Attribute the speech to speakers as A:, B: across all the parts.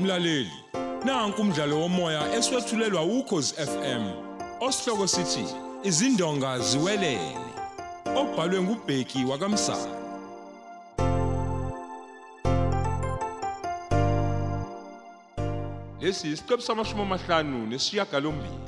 A: Mlaleli, nanku umdlalo womoya eswetshulelwa ukhozi FM. Osihloko sithi izindonga ziwelele. Obhalwe ngubheki wakamsa. Lesi isiqebu samashumi amahlanu nesishiyagalombili.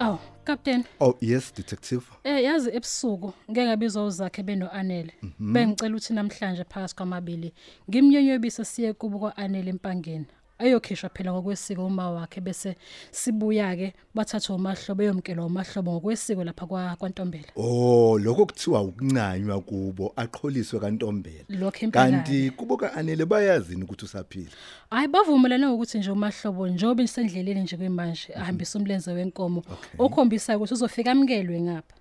B: Aw, Captain,
C: Oh yes detective.
B: eh yazi ebusuku ngeke ngabizwa uzakhe benoanele. Bengicela uthi namhlanje phakathi kwamabili ngimnyenyebise siye kubo kwaanele empangeni. ayokhishwa phela ngokwesiko uma wakhe bese sibuya ke bathatha umahlobo eyomkelo umahlobo ngokwesiko lapha kwa kwantombela
C: Oh lokho kuthiwa ukuncanywa kubo aqholiswe kantombela.
B: Lokho impela.
C: Kanti kubo kaanele bayazini ukuthi usaphila.
B: hayi bavumelane ukuthi nje umahlobo njobe isendleleni nje kwemanje ahambisa umlenze wenkomo okhombisa ukuthi uzofika amkelwe ngapha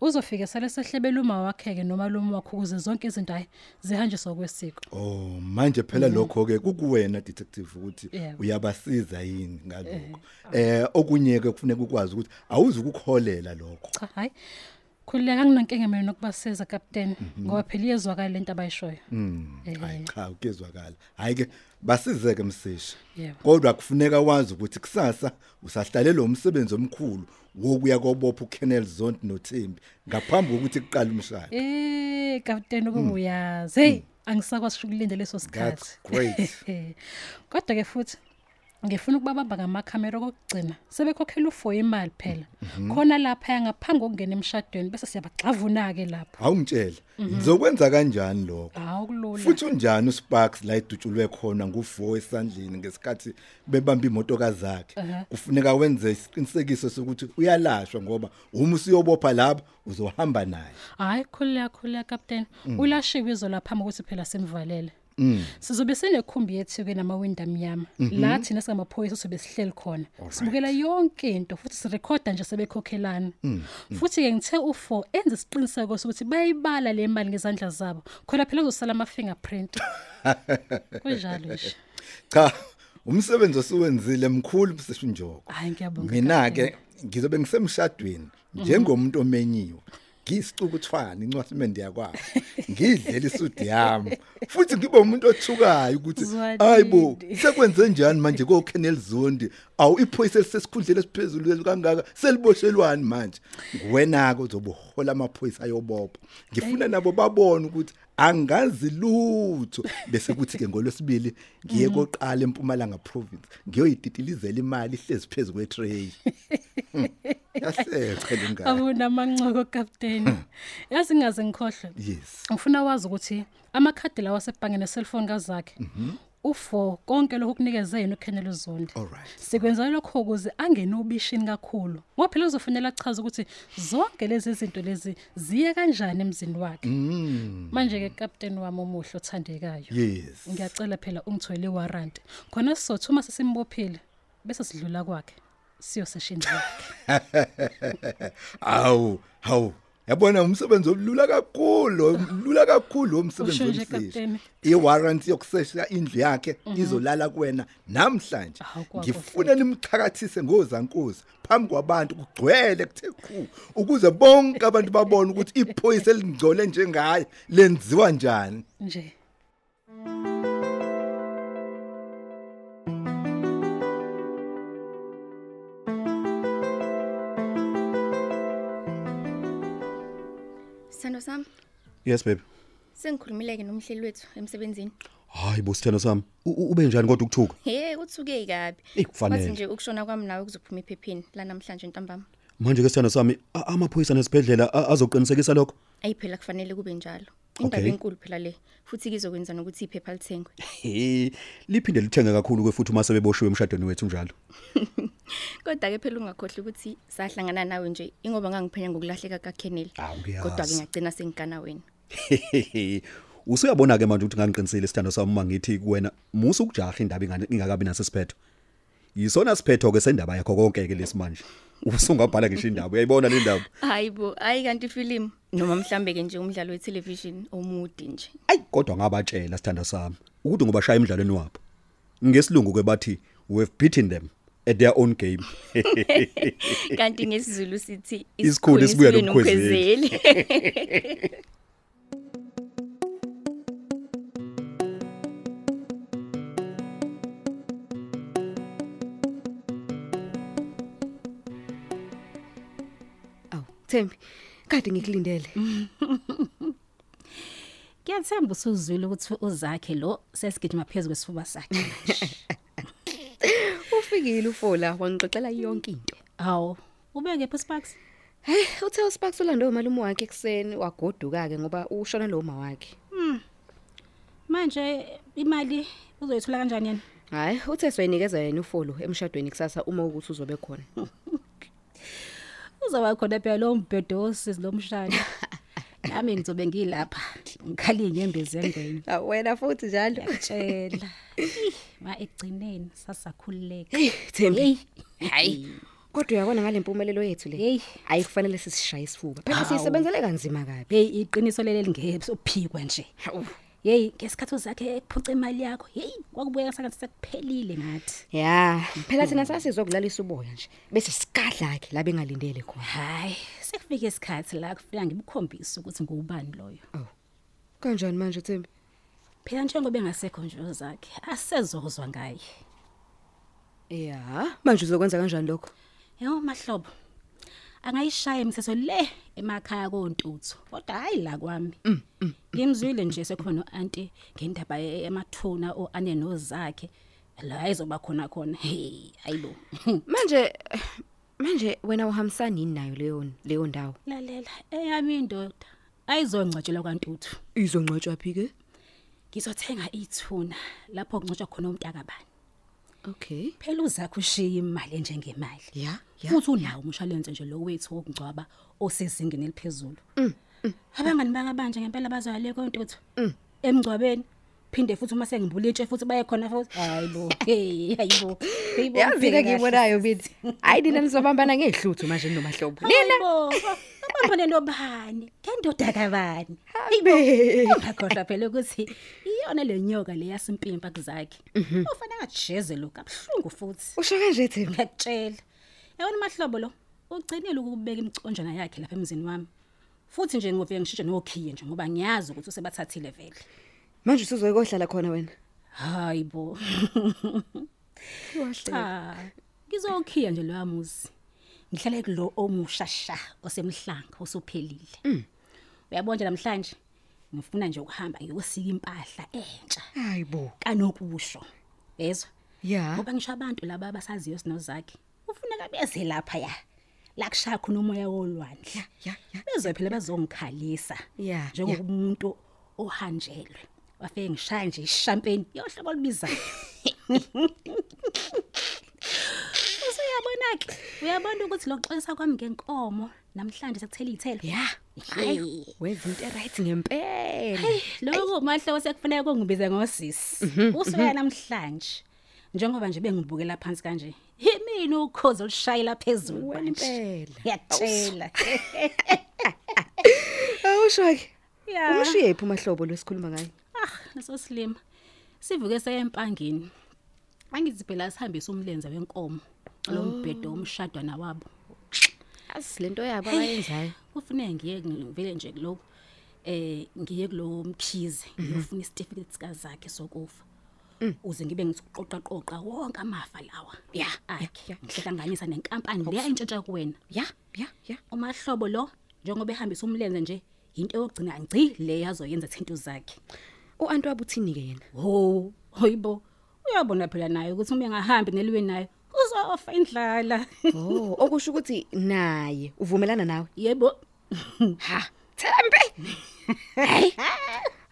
B: uzofika sale sehlebela uma wakhe ke noma lomo wakhe ukuze zonke izinto hayi zihanjiswa kwesiko
C: Oh manje phela lokho ke kukuwena detective ukuthi
B: Mhm. Yebo. ah.
C: uyabasiza yini ngalokho. Eh okunyeke kufuneka ukwazi ukuthi awuzi ukukholela lokho.
B: cha hayi khulileka nginankinga mina nokubasiza captain
C: Mhm,
B: ngoba phela iyezwakala lento abayishoyo
C: Mm.
B: Eh.
C: Hayi cha ukezwakala. Hayi ke basizeke msisha.
B: Yebo.
C: Kodwa kufuneka wazi ukuthi kusasa usahlalela umsebenzi omkhulu wokuya kobopha uKenneth Zondi noThembi ngaphambi kokuthi kuqale umshado.
B: eh captain ukubuyazi hey angisakwazi ukulinda leso sikhathi
C: Mm. That's great.
B: kodwa ke futhi ngifuna ukubabamba ngamakhamera okugcina sebekhokhela u4 imali phela
C: Mm, mhm.
B: khona lapha ngaphambi kokungena emshadweni bese siyabagxavuna ke lapho
C: Awungitshela ngizokwenza kanjani lokho?
B: awukulula
C: futhi unjani uSparks la idutshulwe khona nguVo esandleni ngesikhathi bebamba imoto kazakhe kufuneka wenze isiqinisekiso sokuthi uyalashwa ngoba uma usiyobopha lapha uzohamba naye
B: hayi khulula khulula captain ulashiwe izo lapha ukuthi phela simvalele sizobe sinekhumbi yethu ke namawindi amnyama la thina singamaphoyisa sobe sihleli khona sibukela yonke into futhi sirekhoda nje sebekhokhelana futhi ke ngithe u4 enze isiqiniseko sokuthi bayibala le mali ngezandla zabo khona phela kuzosala ama fingerprint kunjalo nje
C: cha umsebenzi osuwenzile mkhulu seshinjoko
B: hayi ngiyabonga Mhm.
C: mina ke ngizobe ngisemshadweni njengomuntu omenyiwe ngiyisicukuthwana incwasimende yakwabo ngidlela isudi yami futhi ngibe umuntu othukayo ukuthi
B: Zwanini.
C: ayibo sekwenze njani manje ko Colonel Zondi awu iphoyisa lisesikhundleni esiphezulu kangaka seliboshelwani manje wena ke uzobuhola amaphoyisa ayobopha ngifuna nabo babone ukuthi angazi lutho bese kuthi ke ngolwesibili ngiye koqala eMpumalanga province ngiyoyididilizela imali ihlezi phezulu kwetray Hmm. yaseqhe lengane
B: abona amancoko captain yazi ngaze ngikhohlwe
C: yes
B: ngifuna wazi ukuthi amakhadi lawa asebhange neselfone kazakhe u4 konke lokho kunikeze yena uKenneth Zondi
C: Alright.
B: sikwenza lokho ukuze angene ubishini kakhulu ngoba phela uzofanele achaze ukuthi zonke lezi zinto lezi ziye kanjani emzini wakhe manje ke captain wami omuhle othandekayo
C: yes
B: ngiyacela phela ungithoyele warrant khona sizothuma sesimbophile bese sidlula kwakhe siyoseshinzi yakhe
C: awu hawu yabona umsebenzi olula kakhulu olula kakhulu umsebenzi
B: Usho nje,
C: omsisi
B: Kapteni. Mhm.
C: iwarrant yokusesha indlu yakhe izolala kuwena namhlanje
B: Hawu, kwakho
C: ngifuna nimchakathise ngozankosi phambi kwabantu kugcwele kuthe khu ukuze bonke abantu babone ukuthi iphoyisa elingcole njengaye lenziwa njani
B: nje
D: Sithando sami,
E: Yes babe.
D: sengikhulumile ke nomhleli wethu emsebenzini.
E: Hayi bo sithando sami. U- u- Ube njani kodwa ukuthuka?
D: Hey, uthuke kabi.
E: Eyi, kufanele.
D: Bathi nje ukushona kwami nawe kuzophuma ephepheni la namhlanje ntambama.
E: Manje ke sithando sami a- amaphoyisa nesibhedlela a- azoqinisekisa lokho.
D: Ayi phela kufanele kube njalo. Indaba
E: Okay.
D: enkulu phela le. Futhi kizokwenza nokuthi iphepha lithengwe.
E: He, liphinde lithenge kakhulu ke futhi uma sebeboshiwe emshadweni wethu njalo.
D: Kodwa ke phela ungakhohlwa ukuthi sahlangana nawe nje ingoba ngangiphenya ngokulahleka kaKenel.
E: Awu, Ah, ngiyazi.
D: Kodwa ke ngagcina sengikana wena.
E: Usuyabona ke manje ukuthi ngangiqinisile sithando sami uma ngithi kuwena musu ukujaha indaba ingane ingakabi nasisiphetho. Yisona siphetho ke sendaba yakho konke ke lesimanje. Usungabhala ngisho indaba uyayibona le ndaba.
D: Hayibo, ayi kanti ifilimu noma mhlambe ke nje umdlalo we-television omude nje.
E: Ayi kodwa ngabatshela sithando sami ukuthi ngoba shaya emidlalweni wabo. Ngesilungu ke bathi we've beaten them
F: at their own game
D: kanti ngesizulu sithi
F: Isikhuni sibuya nomkhwezeli.
D: nomkhwezeli.
G: awu thembi kade ngikulindele
H: Ngiyathemba usuzwile ukuthi uzakhe lo sesigijima phezulu kwesifuba sakhe.
G: ufikile ufola wangixoxela yonke into
H: Hawu, ubeke phe Sparks.
G: hey uthe usparks ulande umalume wakhe ekuseni wagoduka-ke ngoba ushona lowo ma wakhe
H: Manje imali uzoyithola kanjani yena?
G: hhayi uthe siwayinikeza yena ufolo emshadweni kusasa uma ukuthi uzobe khona
H: Uzoba khona phela lo mbhedo osizi lomshana. Nami ngizobe ngilapha. Ngikhali inyembezi yangwenye.
G: Ah, wena futhi njalo
H: Tshela. Ma ekugcineni sasakhululeka.
G: Hey, Thembi.
H: Hey,
G: hayi kodwa uyabona ngale mpumelelo yethu le
H: Hey.
G: hayi kufanele sisishaye isifuba phela
H: Hawu.
G: siyisebenzele kanzima kabi
H: hey iqiniso leli lingesophikwa nje. Hey ngesikhathi uzakhe ekuphuca imali yakho. Hey kwakubuya sakhe sekuphelile ngathi.
G: ya phela thina sasizokulalisa uboya nje bese sikadla-ke la bengalindele khona
H: Hayi, sekufike isikhathi la kufika ngibukhombisa ukuthi ngubani loyo.
G: kanjani manje thembi
H: Phela njengoba engasekho nje uzakhe, asezokuzwa ngaye.
G: ya manje uzokwenza kanjani lokho
H: Yebo mahlobo. Angayishaya imithetho le emakhaya koNtuthu. Kodwa hayi la kwami. Ngimzwile nje sekukhona uanti ngendaba ye- yamathuna oane nozakhe. La ayizoba khona khona. Hey, ayibo.
G: manje eh, manje wena uhambisani yini nayo leyo leyo ndawo
H: Lalela, eyami indoda ayizongcwatshelwa kwaNtuthu.
G: izongcwatshwa phi-ke
H: Ngizothenga ithuna lapho kungcotshwa khona umntakabani.
G: okay
H: phela uzakho ushiya imali njengemali
G: ya ya
H: futhi unawo umshwalense nje lo wethu wokungcwaba osezingeni eliphezulu
G: Mm,
H: abangani baka banje ngempela bazwale kontuthu
G: Mm.
H: emngcwabeni phinde futhi uma sengibulitshe futhi baye khona futhi hayibo hey hayibo Hayibo,
G: yazi-ke
H: ubheke kahle.
G: ngiyibonayo bithi hhayi nina nizobambana ngey'hluthu manje ninomahlobo nina
H: Hayibo, babambane nobani kendoda kabani
G: abe
H: ungakhohlwa phela ukuthi iyona le nyoka le yasimpimpa kuzakhe ufanele angajeze lokhu kabuhlungu futhi
G: usho kanje thembi
H: ngiyakutshela yabona mahlobo lo ugcinile ukubeka imiconjana yakhe lapha emzini wami futhi nje ngivike ngishintshe nokhiye nje ngoba ngiyazi ukuthi usebathathile vele
G: manje usuzoyekohlala khona wena
H: hayi bo cha ngizokhiya nje loya muzi ngihlale kulo omusha sha osemhlanga osuphelile uyabona nje namhlanje ngifuna nje ukuhamba ngiyosika impahla entsha
G: hayi bo
H: kanokusho yezwa
G: ya
H: ngoba ngisho abantu laba abasaziyo sinozakhe ufuneka beze lapha ya la kushaya khona umoya wolwandle
G: ya, ya,
H: bezwe phela bazongikhalisa
G: Ya, ya.
H: njengomuntu ohanjelwe wafike ngishaya nje ishampeni yohlobo olubizayo usuyabona-ke uyabona ukuthi lokuxolisa kwami ngenkomo namhlanje sekuthela iy'thelo
G: ya
H: hayi
G: wenza into eright ngempela
H: lokho umahlobo sekufanele kungibize ngosisi usuya namhlanje njengoba nje bengibukela phansi kanje yimini ukhozi olushayela phezulu manje
G: Wempela.
H: ngiyatshela
G: awusho-ke
H: ya
G: umushiye phi umahlobo lwesikhuluma ngayo
H: ah leso silima sivuke sayempangeni angithi phela sihambise umlenze wenkomo lo mbhedo omshadwana wabo
G: azi lento yabo abayenzayo
H: kufuneka ngiye ku- vele nje kuloku eh ngiye kulowo mkhize ngiyofuna isitifiketi sikazakhe sokufa uze ngibe ngisiqoqaqoqa wonke amafa lawa Mm. ya akhe ngihlanganisa nenkampani leya intshentsha kuwena
G: ya ya ya
H: umahlobo lo njengoba ehambisa umlenze nje into yokugcina ngci le yazoyenza thinto zakhe
G: u-anti wabo uthini-ke yena
H: ho hoyibo uyabona phela naye ukuthi uma engahambi neliwe naye uzofa indlala
G: o okusho ukuthi naye uvumelana nawe
H: yebo
G: ha thembe hayi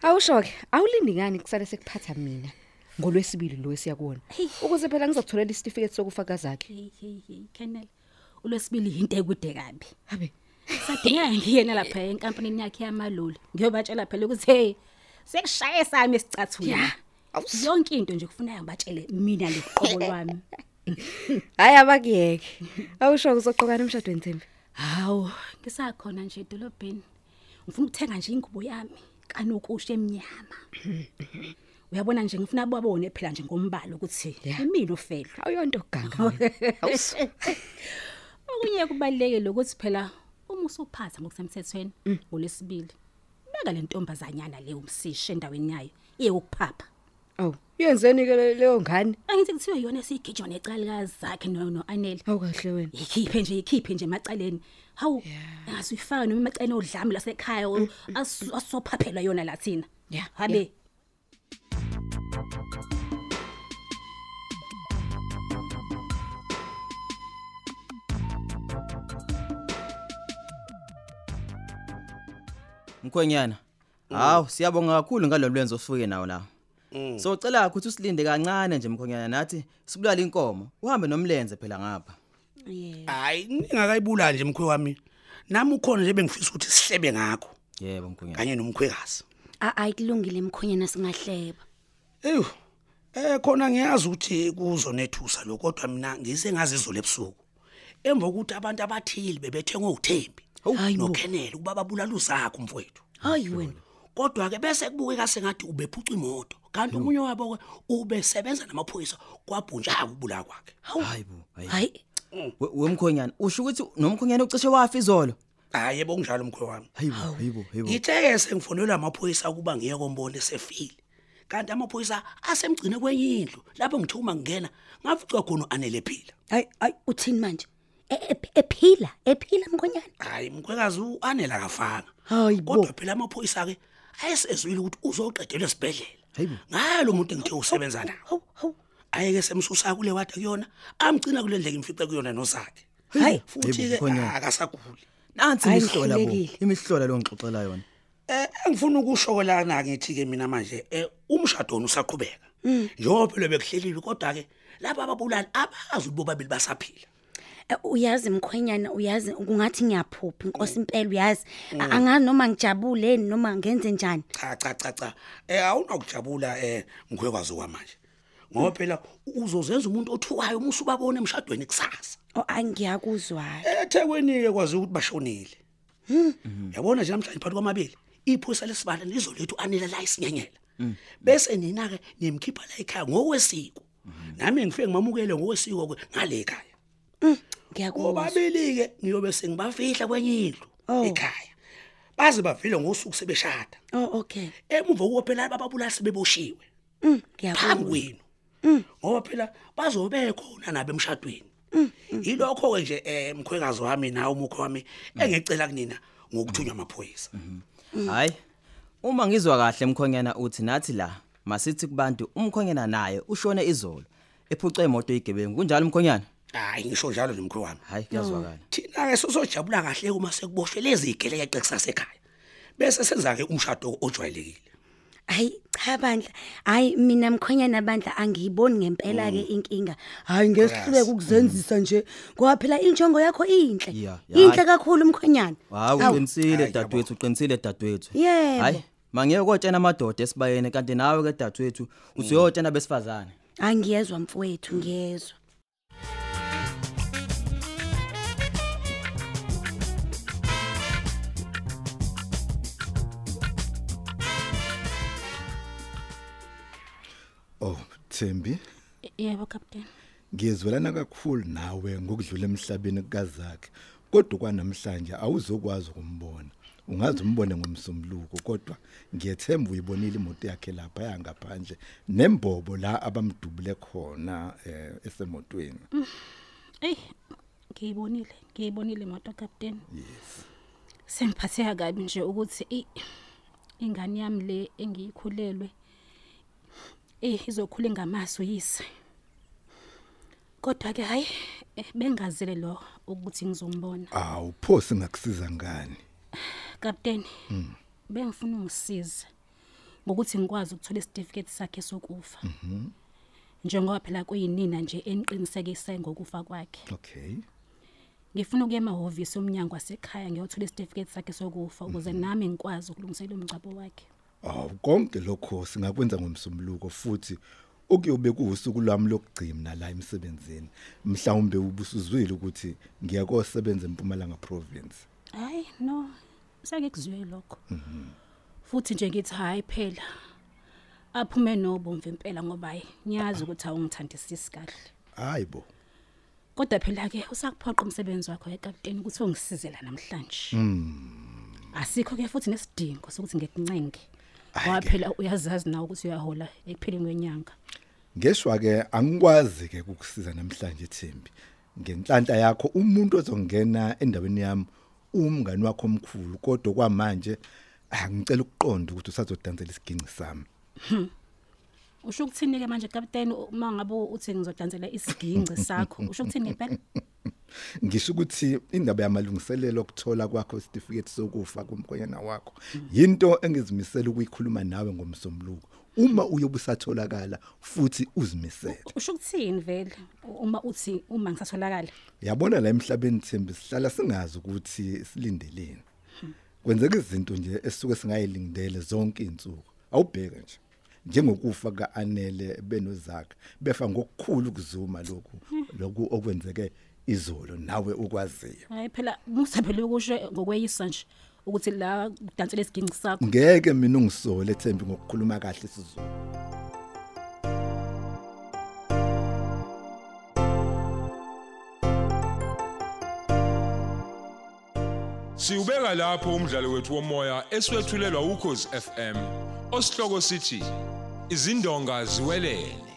G: awusho-ke awulindi ngani kusale sekuphatha mina ngolwesibili lo esiya kuwona ukuze phela ngizokutholela isitifiketi sokufaka zakhe
H: hey hey hey kenel ulwesibili into ekude kabi
G: abe
H: sadingeka ngiyena lapha enkampanini yakhe yamaloli ngiyobatshela phela ukuthi hey sekushaye sami esicathula yonke into nje kufuneka ngibatshele mina loqobo lwami
G: hhayi abakuyeke awusho-ke uzoqokana emshadweni thembi
H: hawu ngisakhona nje edolobheni ngifuna ukuthenga nje ingubo yami kanokusho emnyama
B: uyabona nje ngifuna babone phela nje ngombala ukuthi
G: Yeah.
B: imini ofela
G: awuyonto ganga wena. Awusu.
B: okunye kubalekile ukuthi phela uma usuphatha ngokusemthethweni ngolesibili beka le ntombazanyana le umsisha endaweni yayo iye ukuphapha
G: Awu, yenzeni ke le- leyo ngane?
B: angithi kuthiwa yona esiyigijwa necalikazi zakhe no- no-anele
G: Awukahle wena.
B: ikhiphe nje ikhiphe nje emacaleni hawu asuyifaka noma emacaleni odlame lasekhaya o- asu- asophaphelwa yona la thina
G: Yeah, yeah.
B: habe
I: Mkhwenyana.
E: Mm.
I: Hawu siyabonga kakhulu ngalolu lwenzo osuke nawo la.
E: Mm.
I: So ucela ukuthi usilinde kancane nje mkhwenyana nathi sibulale inkomo uhambe nomlenze phela ngapha.
E: hayi ningakayibulali nje mkhwe wami nami ukhona nje bengifisa ukuthi sihlebe ngakho
I: Yebo mkhwenyana.
E: kanye nomkhwekazi
J: ayikulungile mkhonyana singahleba
E: ewu eh khona ngiyazi ukuthi kuzonethusa lo kodwa mina ngisengazizolo ebusuku emva kokuthi abantu abathile bebethengwe uThembi noKenel ukuba babulala uzakho mfowethu
J: hayi wena
E: kodwa ke bese kubukeka sengathi ubephuca imoto kanti umunye wabo ke ubesebenza namaphoyisa kwabhuntsha ukubula kwakhe
I: Hayi bo. Hayi.
J: hayi
I: We- Wemkhwenyana usho ukuthi nomkhwenyana ucishe wafa izolo.
E: hayi ebo kunjalo mkhwe wami
I: Hayibo hayibo hayibo.
E: ngithe sengifonelwe amaphoyisa ukuba ngiye kombona esefile kanti amaphoyisa asemgcine kwenye indlu lapho ngithe uma ngingena ngafica khona u-anele phila
J: hayi hayi uthini manje E- e- ephila ephila mkhonyana
E: hayi mkhwekazi u-anele akafanga
J: Hayi bo.
E: kodwa phela amaphoyisa-ke ayesezwile ukuthi uzoqedelwa esibhedlela ngalo muntu engithe usebenza nawo
J: hawu hawu
E: ayeke semsusa kule wada kuyona amgcina kule ndleka imfica kuyona nozakhe
I: Hayi.
E: futhi-ke
I: Hayibo, mkhwenyana.
E: akasaguli
I: Nansi
G: Hayi,
I: imihlola bo.
G: ngihlulekile.
I: Imihlola lo ngixoxela yona.
E: Eh ngifuna ukushokolana ngithi ke mina manje eh umshado wona usaqhubeka. Njengoba phela bekuhlelile kodwa ke laba ababulali abazi ubobabili basaphila.
J: Eh, uyazi mkhwenyana uyazi kungathi ngiyaphupha inkosi impela uyazi A- angazi noma ngijabuleni noma ngenze njani
E: Cha cha cha cha. Eh awunokujabula eh mkhwekwazi kwamanje. Ngoba phela uzozenza umuntu othuwayo uma usubabona emshadweni kusasa.
J: o angiyakuzwayo
E: Ethekwini ke kwazi ukuthi bashonile. Yabona nje namhlanje phakathi kwamabili iphoyisa lesibala lizoletha uanela la isinyenyela. Bese nina ke nimkhipha la ekhaya ngokwesiko. Nami ngifike ngimamukele ngokwesiko ke ngale ekhaya.
J: ngiyakuzwa
E: Obabili ke ngiyobe sengibafihla kwenye indlu ekhaya. Baze bavile ngosuku sebeshada.
J: oh okay
E: Emuva kokuphela bababulala sebeboshiwe
J: Mm,
E: phambi
J: ngiyakuzwa
E: kwenu. Ngoba phela bazobe khona nabe emshadweni. Yilokho ke nje eh mkhwekazi wami nawe umukho wami engicela kunina ngokuthunywa amaphoyisa. Mm.
I: Hayi. Uma ngizwa kahle mkhonyana uthi nathi la masithi kubantu umkhonyana naye ushone izolo ephuce imoto igebengu kunjalo mkhonyana?
E: Hayi ngisho njalo Mm. nomkhwe wami.
I: Hayi kuyazwakala.
E: Thina ke sozojabula kahle uma sekuboshwe lezi igele yeqe kusasa ekhaya. Bese senza ke umshado ojwayelekile.
J: hayi cha bandla hayi mina mkhonyana bandla angiyiboni ngempela ke inkinga hayi ngesihluleka ukuzenzisa nje ngoba phela injongo yakho inhle
I: Ya, ya,
J: inhle
I: hhayi.
J: kakhulu mkhonyana
I: Hawu
J: Awu,
I: uqinisile
E: Hayi,
I: dadwethu uqinisile dadwethu.
J: Yebo.
I: Hayi mangiye ukotshena amadoda esibayeni kanti nawe ke dadwethu
E: Mm.
I: usuyotshena besifazane.
J: hayi ngiyezwa mfowethu ngiyezwa
C: oh thembi
B: yebo captain
C: ngiyezwelana kakhulu nawe ngokudlula emhlabeni kazakhe kodwa kwanamhlanje awuzokwazi ukumbona ungaze umbone ngomsumluko kodwa ngiyethemba uyibonile imoto yakhe lapha yangaphandle nembobo la abamdubule khona eh, esemotweni
B: eyi ngiyibonile ngiyibonile imoto captain yes sengiphatheka kabi nje ukuthi eyi ingane yami le engiyikhulelwe eyi izokhule ngamaso yise kodwa ke hayi eh, bengazile lo ukuthi ngizombona
C: awu pho singakusiza ngani
B: Captain. Bengifuna ungisize ngokuthi ngikwazi ukuthola isitifiketi sakhe sokufa. Mhm. Njengoba phela kuyinina nje eniqinisekise ngokufa kwakhe.
C: okay
B: Ngifuna ukuya emahhovisi omnyango wasekhaya ngiyothola isitifiketi sakhe sokufa ukuze nami ngikwazi ukulungiselela umngcwabo wakhe.
C: awu konke lokho singakwenza ngomsumluko futhi okuyobe kuwusuku lwami lokugcina la emsebenzini mhlawumbe ubusuzwile ukuthi ngiyakosebenza empumalanga province
B: Hayi no, sake kuzwe lokho. Mhm. Futhi nje ngithi hayi phela. aphume nobomvu impela ngoba ye, ngiyazi ukuthi awungithandisisi kahle
C: hayi bo
B: kodwa phela ke usakuphoqa umsebenzi wakho ekapteni ukuthi ongisizela namhlanje asikho ke futhi nesidingo sokuthi ngikuncenge ngoba phela uyazazi nawe ukuthi uyahola ekupheleni kwenyanga
C: ngeshwa ke angikwazi ke ukukusiza namhlanje Thembi ngenhlanhla yakho umuntu ozongena endaweni yami umngani wakho omkhulu kodwa kwamanje angicela ukuqonda ukuthi usazodantsela isiginci sami
B: usho ukuthini ke manje kapteni uma ngabe uthi ngizodansela isiginci sakho usho ukuthini phela
C: ngisho ukuthi indaba yamalungiselelo okuthola kwakho isitifiketi sokufa kumkhonyana wakho yinto engizimisela ukuyikhuluma nawe ngomsombuluko uma uyobusatholakala futhi uzimisele
B: usho ukuthini vele uma uthi uma ngisatholakala
C: yabona la emhlabeni Thembi sihlala singazi ukuthi silindeleni kwenzeka izinto nje esuke singayilindele zonke izinsuku awubheke nje njengokufa kaanele benozakhe befa ngokukhulu kuzuma lokhu lokhu okwenzeke izolo nawe ukwaziyo
B: hayi phela musa phela ukusho ngokweyisa nje ukuthi la kudansela isiginci sakho
C: ngeke mina ungisole Thembi ngokukhuluma kahle isizulu
A: Siubeka lapho umdlalo wethu womoya eswetshulelwa ukhozi FM. Osihloko sithi izindonga ziwelele.